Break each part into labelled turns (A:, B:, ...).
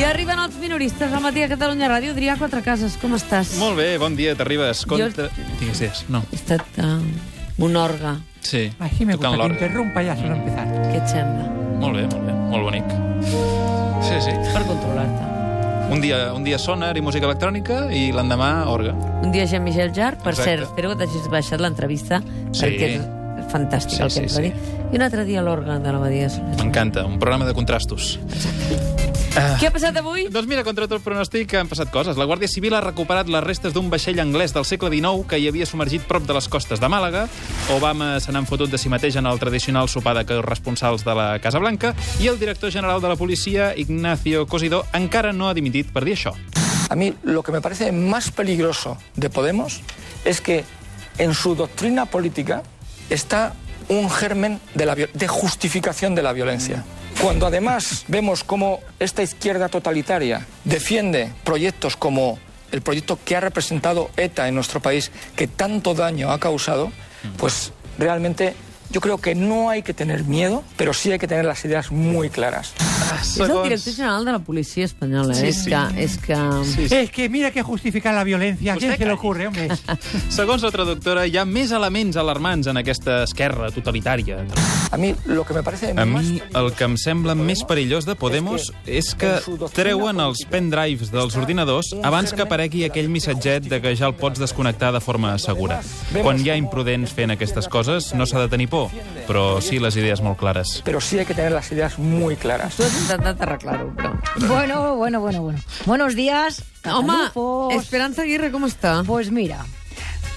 A: I arriben els minoristes al matí a Catalunya Ràdio. Adrià Quatre Cases, com estàs?
B: Molt bé, bon dia, t'arribes. Contra... Digues, digues, no.
A: He estat eh, un orga.
B: Sí,
C: Así me gusta,
B: tocant
C: que
B: l'orgue.
C: interrumpa ya solo empezar.
A: Què et sembla?
B: Molt bé, molt bé, molt bonic. Sí, sí.
A: Per controlar-te.
B: Un dia, un dia sonar i música electrònica i l'endemà orgue.
A: Un dia Jean-Michel Jarre, per
B: Exacte.
A: cert, espero que t'hagis baixat l'entrevista,
B: Sí.
A: perquè és fantàstic
B: Sí,
A: el que
B: sí,
A: ens va
B: sí.
A: dir. I un altre dia l'orga de la Badia. Soler.
B: M'encanta, un programa de contrastos.
A: Què ha passat avui?
B: Doncs mira, contra tot pronòstic han passat coses. La Guàrdia Civil ha recuperat les restes d'un vaixell anglès del segle XIX que hi havia submergit prop de les costes de Màlaga. Obama se n'han fotut de si mateix en el tradicional sopar de corresponsals de la Casa Blanca i el director general de la policia, Ignacio Cosidó, encara no ha dimitit per dir això.
D: A mí lo que me parece más peligroso de Podemos es que en su doctrina política está un germen de, la viol- de justificación de la violencia. Cuando además vemos cómo esta izquierda totalitaria defiende proyectos como el proyecto que ha representado ETA en nuestro país, que tanto daño ha causado, pues realmente yo creo que no hay que tener miedo, pero sí hay que tener las ideas muy claras.
A: És el director general de la policia espanyola, eh?
B: Sí, sí.
A: És que... És que...
B: Sí, Pues sí.
C: Es que mira que justificar la violencia. ¿A quién
B: Usted
C: se le
B: calle.
C: ocurre, hombre?
B: Segons la traductora, hi ha més elements alarmants en aquesta esquerra totalitària.
D: A mí lo que me parece
B: A
D: más
B: mi el que em sembla més
D: Podemos
B: perillós de Podemos és que treuen els pendrives dels ordinadors abans que aparegui aquell missatget de que ja el pots desconnectar de forma segura. Quan hi ha imprudents fent aquestes coses, no s'ha de tenir por, però sí les idees molt clares.
D: pero sí hay que tener las ideas muy claras.
A: Tu has intentat arreglar-ho, però...
E: Bueno, bueno, bueno, bueno. Buenos días,
A: Home,
E: catalufos.
A: Esperanza Aguirre, com està?
E: Pues mira,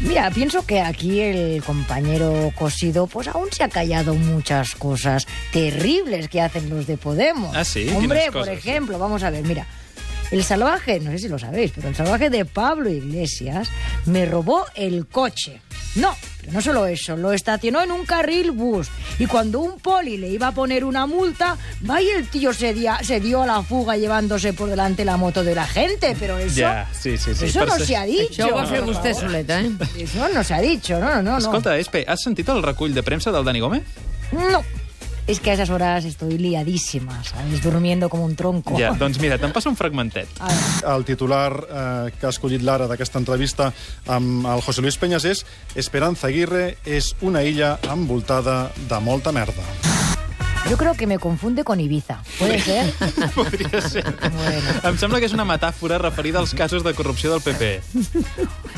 E: mira, pienso que aquí el compañero Cosido pues aún se ha callado muchas cosas terribles que hacen los de Podemos.
B: Ah, sí,
E: Hombre,
B: ¿quiénes
E: por
B: cosas?
E: ejemplo, vamos a ver, mira. El salvaje, no sé si lo sabéis, pero el salvaje de Pablo Iglesias me robó el coche. No, pero no solo eso, lo estacionó en un carril bus. Y cuando un poli le iba a poner una multa, va y el tío se, dia- se dio a la fuga llevándose por delante la moto de la gente. Pero eso,
B: Ja, sí, sí, sí,
E: eso
B: per
E: no
B: ser-
E: se ha dicho.
A: Això ho va
E: por
A: fer vostè
E: favor. Pues
A: soleta, eh?
E: Eso no se ha dicho, no, no, no.
B: Escolta, Espe, has sentit el recull de premsa del Dani Gómez?
E: No. Es que a esas horas estoy liadísima, ¿sabes? Durmiendo como un tronco.
B: Ja, doncs mira, te'n passa un fragmentet.
E: A ver.
F: El titular eh, que ha escollit l'ara d'aquesta entrevista amb el José Luis Peñas és Esperanza Aguirre és una illa envoltada de molta merda.
E: Yo creo que me confunde con Ibiza. ¿Puede ser?
B: Podria ser.
E: Bueno.
B: Em sembla que és una metàfora referida als casos de corrupció del PP.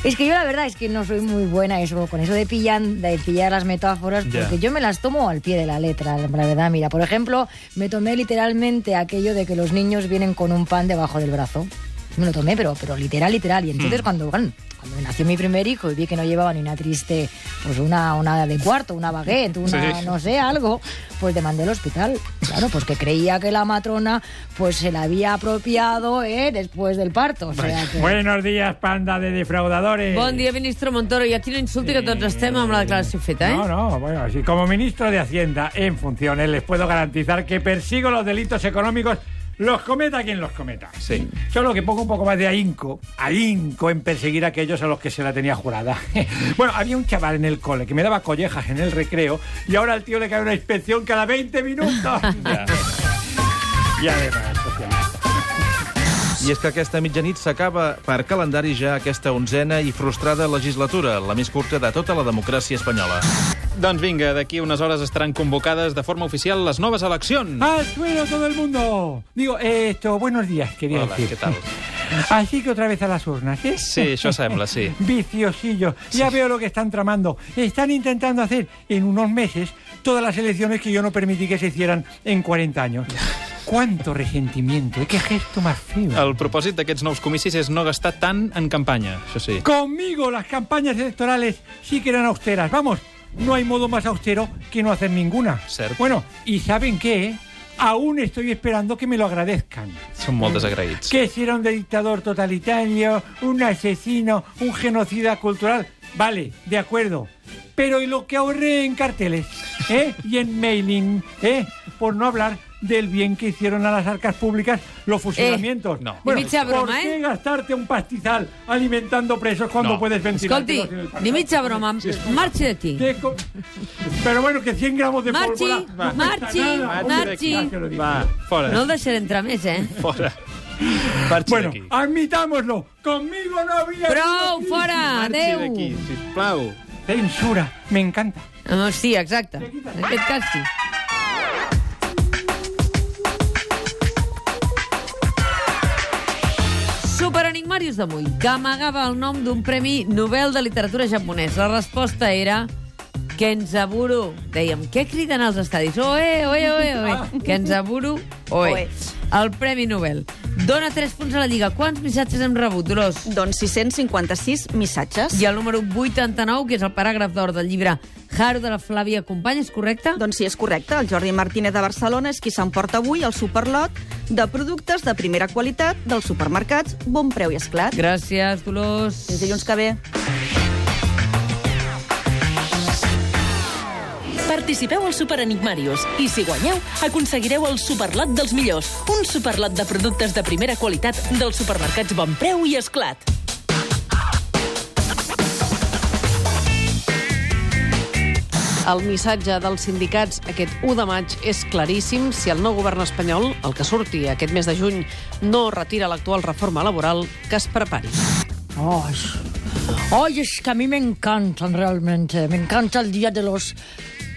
E: Es que yo la verdad es que no soy muy buena eso, con eso de pillar, de pillar las metáforas,
B: Ya.
E: porque yo me las tomo al pie de la letra, la verdad. Mira, por ejemplo, me tomé literalmente aquello de que los niños vienen con un pan debajo del brazo. Me lo tomé, pero, pero literal, literal. Y
B: Mm.
E: entonces cuando, bueno, cuando nació mi primer hijo y vi que no llevaba ni una triste, pues una, una de cuarto, una baguette, una
B: Sí.
E: no sé, algo, pues demandé al hospital. Claro, pues que creía que la matrona pues se la había apropiado ¿eh? después del parto. O sea, que-
C: Buenos días, panda de defraudadores.
A: Bon dia, ministre Montoro. I aquí no insulti que tots estem amb la declaració feta, eh?
C: No, no, bueno, sí, como ministro de Hacienda en funciones les puedo garantizar que persigo los delitos económicos, los cometa quien los cometa.
B: Sí.
C: Solo que pongo un poco más de ahínco, ahínco en perseguir a aquellos a los que se la tenía jurada. bueno, había un chaval en el cole que me daba collejas en el recreo y ahora al tío le cae una inspección cada 20 minutos. y además, socialista.
G: I és que aquesta mitjanit s'acaba per calendari ja aquesta onzena i frustrada legislatura, la més curta de tota la democràcia espanyola.
B: Doncs vinga, d'aquí unes hores estaran convocades de forma oficial les noves eleccions.
C: ¡Al suelo todo el mundo! Digo, eh, esto, buenos días, quería
B: Hola,
C: decir.
B: ¿qué tal?
C: Así que otra vez a las urnas, ¿eh?
B: Sí, això sembla, sí.
C: Viciosillos, ya veo lo que están tramando. Están intentando hacer en unos meses todas las elecciones que yo no permití que se hicieran en 40 años. ¡Cuánto resentimiento! ¿eh? ¡Qué gesto más feo!
B: El propòsit d'aquests nous comicis és no gastar tant en campanya, això sí.
C: Conmigo las campañas electorales sí que eran austeras. Vamos, no hay modo más austero que no hacer ninguna.
B: Cierto.
C: Bueno, ¿y saben qué? eh? Aún estoy esperando que me lo agradezcan.
B: Són molt desagraïts.
C: Que si era un dictador totalitario, un asesino, un genocida cultural. Vale, de acuerdo. Pero ¿y lo que ahorré en carteles? ¿Eh? Y en mailing, ¿eh? Por no hablar del bien que hicieron a las arcas públicas los fusilamientos.
B: no.
A: Ni
C: Bueno,
A: mitja Eh, broma,
C: ¿por qué
A: ¿eh?
C: gastarte un pastizal alimentando presos cuando
B: No.
C: puedes ventilar?
A: Escolti, ni mitja broma, marxi d'aquí.
C: Pero bueno, que 100 gramos de
A: Marchi,
C: pólvora... no
A: Marchi,
C: cuesta nada.
A: Marchi.
C: Ya te lo digo.
B: Va, fora.
A: No el deixaré entrar més, eh?
B: Fora. Marxi
C: Bueno,
B: d'aquí.
C: admitámoslo. Conmigo no había...
A: Prou, fora!
B: Marxi
A: Adeu!
B: d'aquí, sisplau.
C: Censura, me encanta.
A: Ah, Sí, exacte. En aquest cas sí. Superenigmàrius d'avui, que amagava el nom d'un premi Nobel de literatura japonès. La resposta era... Kenzaburo. Dèiem, què criden als estadis? Oe, oe, oe, oe. Kenzaburo, oe.
H: Oe.
A: El Premi Nobel. Dona 3 punts a la Lliga. Quants missatges hem rebut, Dolors?
H: Doncs 656 missatges.
A: I el número 89, que és el paràgraf d'or del llibre Haro de la Flàvia Company, és correcte?
H: Doncs sí, és correcte. El Jordi Martínez de Barcelona és qui s'emporta avui el superlot de productes de primera qualitat dels supermercats, bon preu i esclat.
A: Gràcies, Dolors.
H: Fins dilluns que ve.
I: Participeu al Superenigmàrius i, si guanyeu, aconseguireu el superlot dels millors. Un superlot de productes de primera qualitat dels supermercats Bon Preu i Esclat.
J: El missatge dels sindicats aquest 1 de maig és claríssim. Si el nou govern espanyol, el que surti aquest mes de juny, no retira l'actual reforma laboral, que es prepari.
E: Ay, ay, es que a mí me encantan realmente. Me encanta el día de los.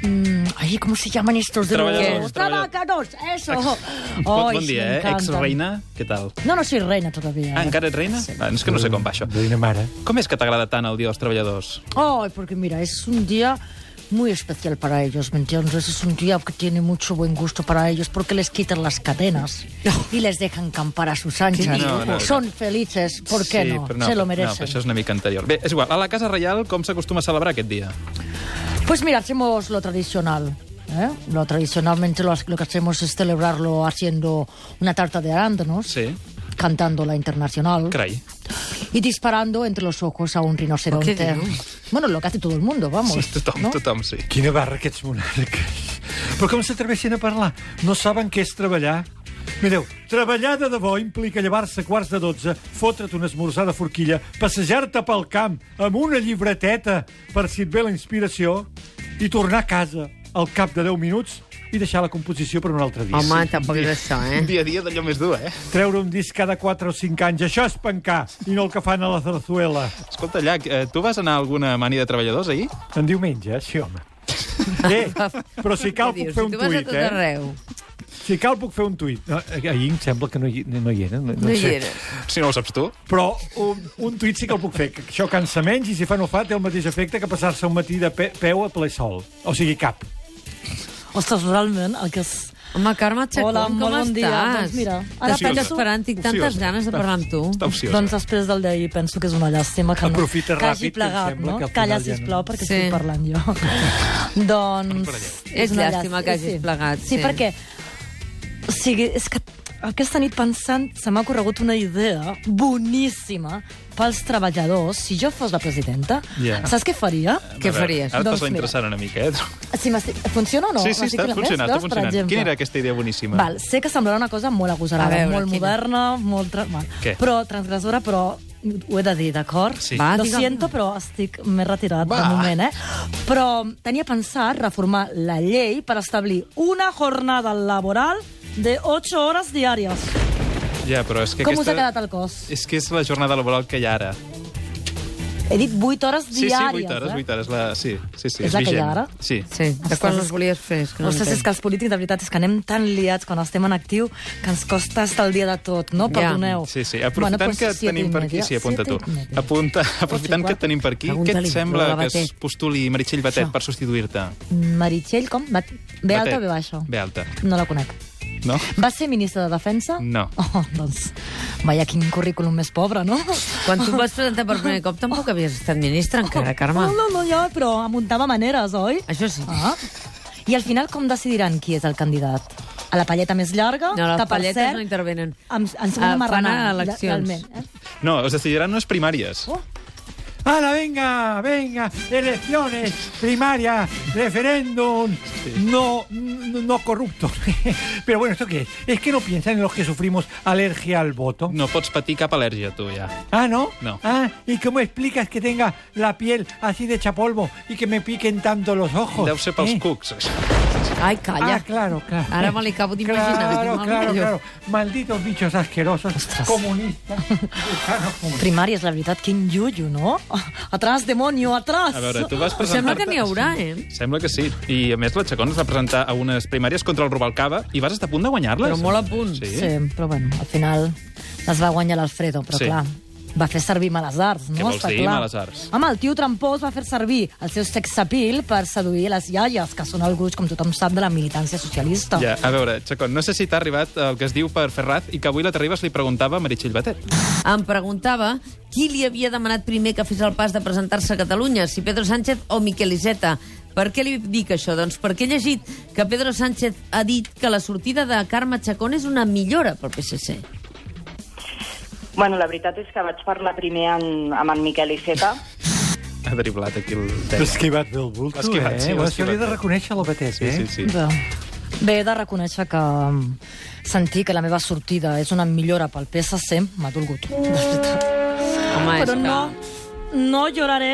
E: mm, ay, ¿cómo se llaman estos? De
B: Trabajadores,
E: los
B: trabajadores.
E: trabajadores, eso. Ay,
B: Bon, bon
E: sí,
B: dia,
E: me
B: eh?
E: encantan.
B: Ex-reina, què tal?
E: No, no soy reina todavía.
B: Ah,
E: eh.
B: encara ets reina? Ah, és que no sé com va això.
C: Reina mare.
B: Com és que t'agrada tant el Dia dels Treballadors?
E: Ay, porque mira, es un día muy especial para ellos, ¿me entiendes? Es un día que tiene mucho buen gusto para ellos porque les quitan las cadenas y les dejan campar a sus anchas.
B: No, no, no.
E: Son felices, ¿por qué no?
B: però
E: Se lo
B: No, però
E: merecen.
B: això és una mica anterior. Bé, és igual. A la Casa Reial, com s'acostuma a celebrar aquest dia?
E: Pues mira, hacemos lo tradicional. ¿eh? Lo tradicionalmente lo, lo que hacemos es celebrarlo haciendo una tarta de arándanos,
B: Sí.
E: cantando la internacional
B: Carai.
E: y disparando entre los ojos a un
A: ¿Qué
E: rinoceronte.
A: dices?
E: Bueno, lo que hace todo el mundo, vamos.
B: Sí, tothom,
E: ¿no?
B: tothom, sí.
C: Quina barra aquests monarques. Però com s'atreveixen a parlar? No saben què és treballar? Mireu, treballar de debò implica llevar-se a quarts de dotze, fotre't una esmorzada forquilla, passejar-te pel camp amb una llibreteta per si et ve la inspiració i tornar a casa al cap de 10 minuts i deixar la composició per un altre dia.
A: Home, tampoc és això, eh?
B: Dia a dia d'allò més dur, eh?
C: Treure un disc cada 4 o 5 anys, això és pencar, i no el que fan a la zarzuela.
B: Escolta, Llach, eh, tu vas anar a alguna mani de treballadors ahir?
C: En diumenge, eh? sí, home. Eh, però si cal
A: Què
C: puc
A: dius?
C: fer un
A: si tu vas a
C: tuit,
A: tot
C: eh?
A: arreu.
C: Si cal, puc fer un tuit. No, eh, ahir em sembla que no hi, no hi era. No,
A: No hi
C: sé.
A: era.
B: Si no ho saps tu.
C: Però un, un tuit sí que el puc fer. Que això cansa menys i si fa no fa té el mateix efecte que passar-se un matí de pe peu a ple sol. O sigui, cap.
E: Ostres, realment, el que és...
A: Home, Carme Chacón,
E: Hola,
A: com
E: molt bon
A: estàs?
E: dia. Doncs mira,
A: ara
E: ara
A: estic
B: penso-
A: esperant, tinc tantes
B: Ociosa.
A: ganes de parlar amb tu.
B: Està ociosa.
E: Doncs després del d'ahir penso que és una llàstima que, no,
C: Aprofita ràpid,
E: que
C: que
E: hagi
C: em
E: plegat,
C: sembla
E: no?
C: que al
E: Calla,
C: final ja no.
E: sisplau, perquè
A: Sí.
E: sí. estic parlant jo. doncs...
A: És
E: una
A: llàstima que hagis plegat, sí.
E: Sí, perquè... O sigui, és que aquesta nit pensant se m'ha corregut una idea boníssima pels treballadors. Si jo fos la presidenta,
B: Ja.
E: saps què faria?
A: Què faries?
B: Ara et
E: Doncs
B: passa
E: mira.
B: interessant una mica, eh?
E: Si m'estic- Funciona o no?
B: sí, sí,
E: M'estic
B: està
E: clavant?
B: funcionant, està
E: Veus, per
B: funcionant.
E: exemple?
B: Quina era aquesta idea boníssima?
E: Val, sé que semblarà una cosa molt agosarada,
A: A veure,
E: molt
A: quina?
E: moderna, molt... Tra... Val.
B: Què?
E: Però transgressora, però ho he de dir, d'acord?
B: Sí.
A: Va,
E: Lo
A: digue'm.
E: siento, però estic més retirat
B: Va.
E: de moment, eh? Però tenia pensat reformar la llei per establir una jornada laboral de 8 hores diàries.
B: Ja, però és que
E: Com us
B: aquesta... Eh.
E: ha quedat el cos?
B: És que és la jornada laboral que hi ha ara.
E: He dit 8 hores
B: Sí, sí,
E: diàries,
B: 8 hores,
E: eh?
B: 8 hores. La... Sí, sí, sí,
E: És la que hi
B: vigent.
E: ha ara?
B: Sí.
A: Sí, de quan les volies fer? és Que no,
E: No sé si és
A: entenc.
E: que els polítics, de veritat, és que anem tan liats quan estem en actiu que ens costa estar al dia de tot, no?
A: Ja.
E: Perdoneu.
B: Sí, sí. Aprofitant
E: doncs
B: que et
E: siete
B: tenim
E: i
B: per aquí...
E: media,
B: Sí, apunta
E: siete
B: tu.
E: i media.
B: Apunta, aprofitant
E: igual.
B: que et tenim per aquí, què et
A: Pregunta-li,
B: sembla
A: Lola
B: que es
A: Batet.
B: postuli Meritxell Batet
E: Això.
B: per substituir-te?
E: Meritxell, com? Bat... B alta o
B: Batet.
E: B baixa?
B: B alta,
E: No la conec.
B: no?
E: Va ser ministra de Defensa?
B: No.
E: Oh, doncs, vaja, quin currículum més pobre, no?
A: Quan tu vas presentar per primer cop tampoc havies estat ministre encara, Carme.
E: No, no, no, ja, però amuntava maneres, oi?
A: Això sí.
E: Ah. I al final com decidiran qui és el candidat? A la palleta més llarga?
A: No, les
E: que, per
A: palletes
E: cert,
A: no intervenen.
E: Ens, ens
A: Ah,
E: ah,
A: fan
E: marranar,
A: a eleccions.
E: Realment, eh?
B: No, es decidiran unes primàries.
E: Oh.
C: Ala, venga, venga, elecciones, primaria, referéndum, no, no, no corrupto. Pero bueno, ¿esto qué es? Es que no piensan en los que sufrimos alergia al voto.
B: No pots patir cap al·lèrgia, tu, ja.
C: Ah, ¿no?
B: No.
C: Ah, ¿y cómo explicas que tenga la piel así de chapolvo y que me piquen tanto los ojos?
B: Deu ser pels
C: ¿Eh?
B: cucs, això.
A: Ai, calla.
C: Ah, claro, claro.
A: Ara me l'acabo d'imaginar.
C: Claro,
A: Mal
C: claro,
A: millor.
C: claro. Malditos bichos asquerosos,
E: Ostres.
C: comunistas, gusanos comunistas.
E: Primàries, la veritat, quin llullo, no? Atràs, demonio, atràs!
B: A veure, tu vas presentar...
A: Sembla que n'hi haurà, eh?
B: Sembla que sí. I, a més, la Chacón es va presentar a unes primàries contra el Rubalcaba i vas estar a punt de guanyar-les.
A: Però molt a punt.
B: Sí.
E: Sí, però bueno, al final les va guanyar l'Alfredo, però
B: Sí.
E: sí. clar, va fer servir males arts, no?
B: Què vols
E: Està
B: dir,
E: clar.
B: males arts?
E: Home, el tio trampós va fer servir el seu sexapil per seduir les iaies, que són el gruix, com tothom sap, de la militància socialista.
B: Ja, a veure, Chacón, no sé si t'ha arribat el que es diu per Ferraz i que avui la Terribas li preguntava a Meritxell Batet.
A: Em preguntava qui li havia demanat primer que fes el pas de presentar-se a Catalunya, si Pedro Sánchez o Miquel Iceta. Per què li dic això? Doncs perquè he llegit que Pedro Sánchez ha dit que la sortida de Carme Chacón és una millora pel PSC.
K: Bueno, la veritat és que vaig parlar primer en, amb en Miquel Iceta.
B: Ha driblat aquí el
C: T'ha
B: tema.
C: esquivat bé el bulto,
B: L'ha esquivat,
C: eh?
B: sí, l'ha
C: Ho hauria de
B: esquivat.
C: reconèixer, la Batet,
B: Sí,
C: eh?
B: sí, sí.
E: Bé, bé, he de reconèixer que mm, sentir que la meva sortida és una millora pel PSC m'ha dolgut, de veritat.
A: Home, és
E: Però
A: que-
E: no, no lloraré.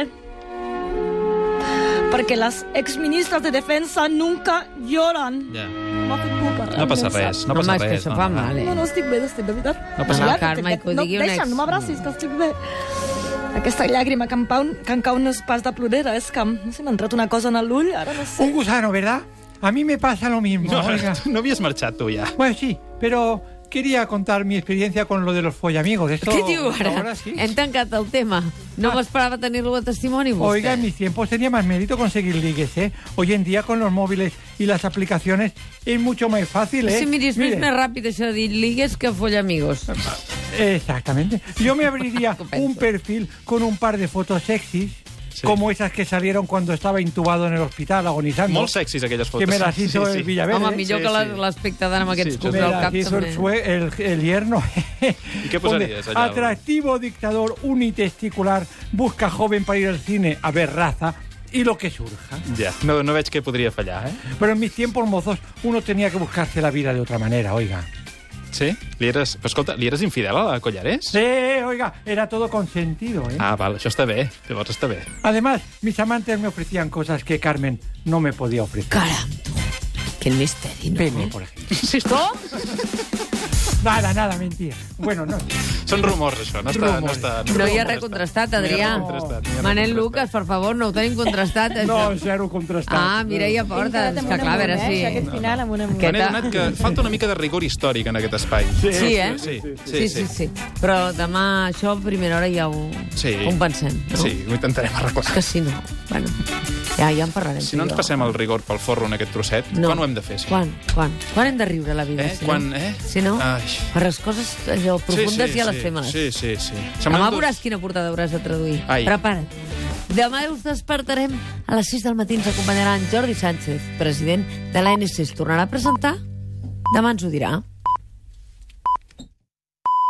E: Porque las exministras de defensa nunca lloran.
B: Ja.
E: M'ha fet por parlar,
B: No
A: Doncs
B: passa
E: em sap.
B: res, no
A: Home,
B: passa
A: és que
B: res.
A: això fa mal, eh?
E: No, no, estic bé, estic de veritat.
B: No passa
A: res.
E: Clar,
A: Carme,
E: que-
A: que ho digui
E: no,
A: un ex.
E: Deixa'm, no m'abracis, que estic bé. Aquesta llàgrima que em, pau, que em cau no és pas de plorera, és que no sé, m'ha entrat una cosa en l'ull, ara no sé.
C: Un gusano, ¿verdad? A mí me pasa lo mismo.
B: No,
C: oiga.
B: tu no havies marxat, tu, ja.
C: Bueno, sí, pero quería contar mi experiencia con lo de los follamigos. Esto,
A: Què diu ara?
C: Ahora sí.
A: Hem tancat el tema.
B: Ah.
A: No m'esperava tenir-lo de testimoni, vostè.
C: Oiga, en mis tiempos tenía más mérito conseguir ligues, ¿eh? Hoy en día con los móviles y las aplicaciones es mucho más fácil, ¿eh?
A: Sí, miri, és més,
C: Mire,
A: més ràpid això de dir ligues que folla amigos.
C: Exactamente. Yo me abriría
A: Compenso.
C: un perfil con un par de fotos sexys,
B: Sí.
C: como esas que salieron cuando estaba intubado en el hospital agonizando.
B: Molt sexis, aquelles
C: Que
B: fotos.
C: me las hizo el Villaverde.
A: Home,
C: ¿eh?
A: millor
B: Sí,
A: que la-
B: sí.
A: l'aspecte d'anar amb aquests
B: Sí,
A: cups
B: jo
A: al
B: també.
A: cap,
C: Aquí hizo el,
A: també.
C: sue- el, el yerno.
B: ¿Y qué posarías
C: Pone,
B: allá?
C: Atractivo dictador unitesticular busca joven para ir al cine a ver raza y lo que surja.
B: Ja, no, no veig què podria fallar, eh?
C: Pero en mis tiempos mozos uno tenía que buscarse la vida de otra manera, oiga.
B: Sí? Li eres... Però escolta, li eres infidel a la Collarés?
C: Sí, oiga, era todo consentido, ¿eh?
B: Ah, val, això està bé. Llavors està bé.
C: Además, mis amantes me ofrecían cosas que Carmen no me podía ofrecer.
A: Caram, tu. Quin misteri, no?
C: Pene, por ejemplo. Nada, nada, mentira. Bueno, no.
B: Són rumors, això. No està... No,
C: Rumors.
B: està,
A: No hi ha res contrastat, Adrià.
B: No hi ha res contrastat, no hi ha res
A: Manel
B: contrastat.
A: Lucas, per favor, no ho tenim contrastat.
C: No,
A: això.
C: cero contrastado.
A: Ah, Mireia Porta, és que clar, a veure si...
E: final amb una...
B: Me n'he
A: Aquesta...
B: adonat que falta una mica de rigor històric en aquest espai.
A: Sí, eh?
B: Sí, sí,
A: Sí, sí, sí. Però demà això a primera hora ja ho,
B: Sí.
A: ho pensem, no?
B: Sí, ho intentarem
A: És
B: arreglar.
A: que si no, bueno, ja, ja en parlarem.
B: Si no ens passem el rigor pel forro en aquest trosset,
A: No.
B: quan ho hem de fer? sí?
A: Quan? Quan? Quan hem de riure a la vida?
B: Eh?
A: Si
B: Quan,
A: no?
B: eh?
A: Si no,
B: Ai.
A: per les coses allò profundes ja les
B: sí,
A: fem a les
B: Sí, sí, sí.
A: Demà
B: Semblen dos-
A: veuràs quina portada hauràs de traduir.
B: Ai.
A: Prepara't. Demà us despertarem a les 6 del matí. Ens acompanyarà en Jordi Sánchez, president de l'ANC. Es tornarà a presentar? Demà ens ho dirà.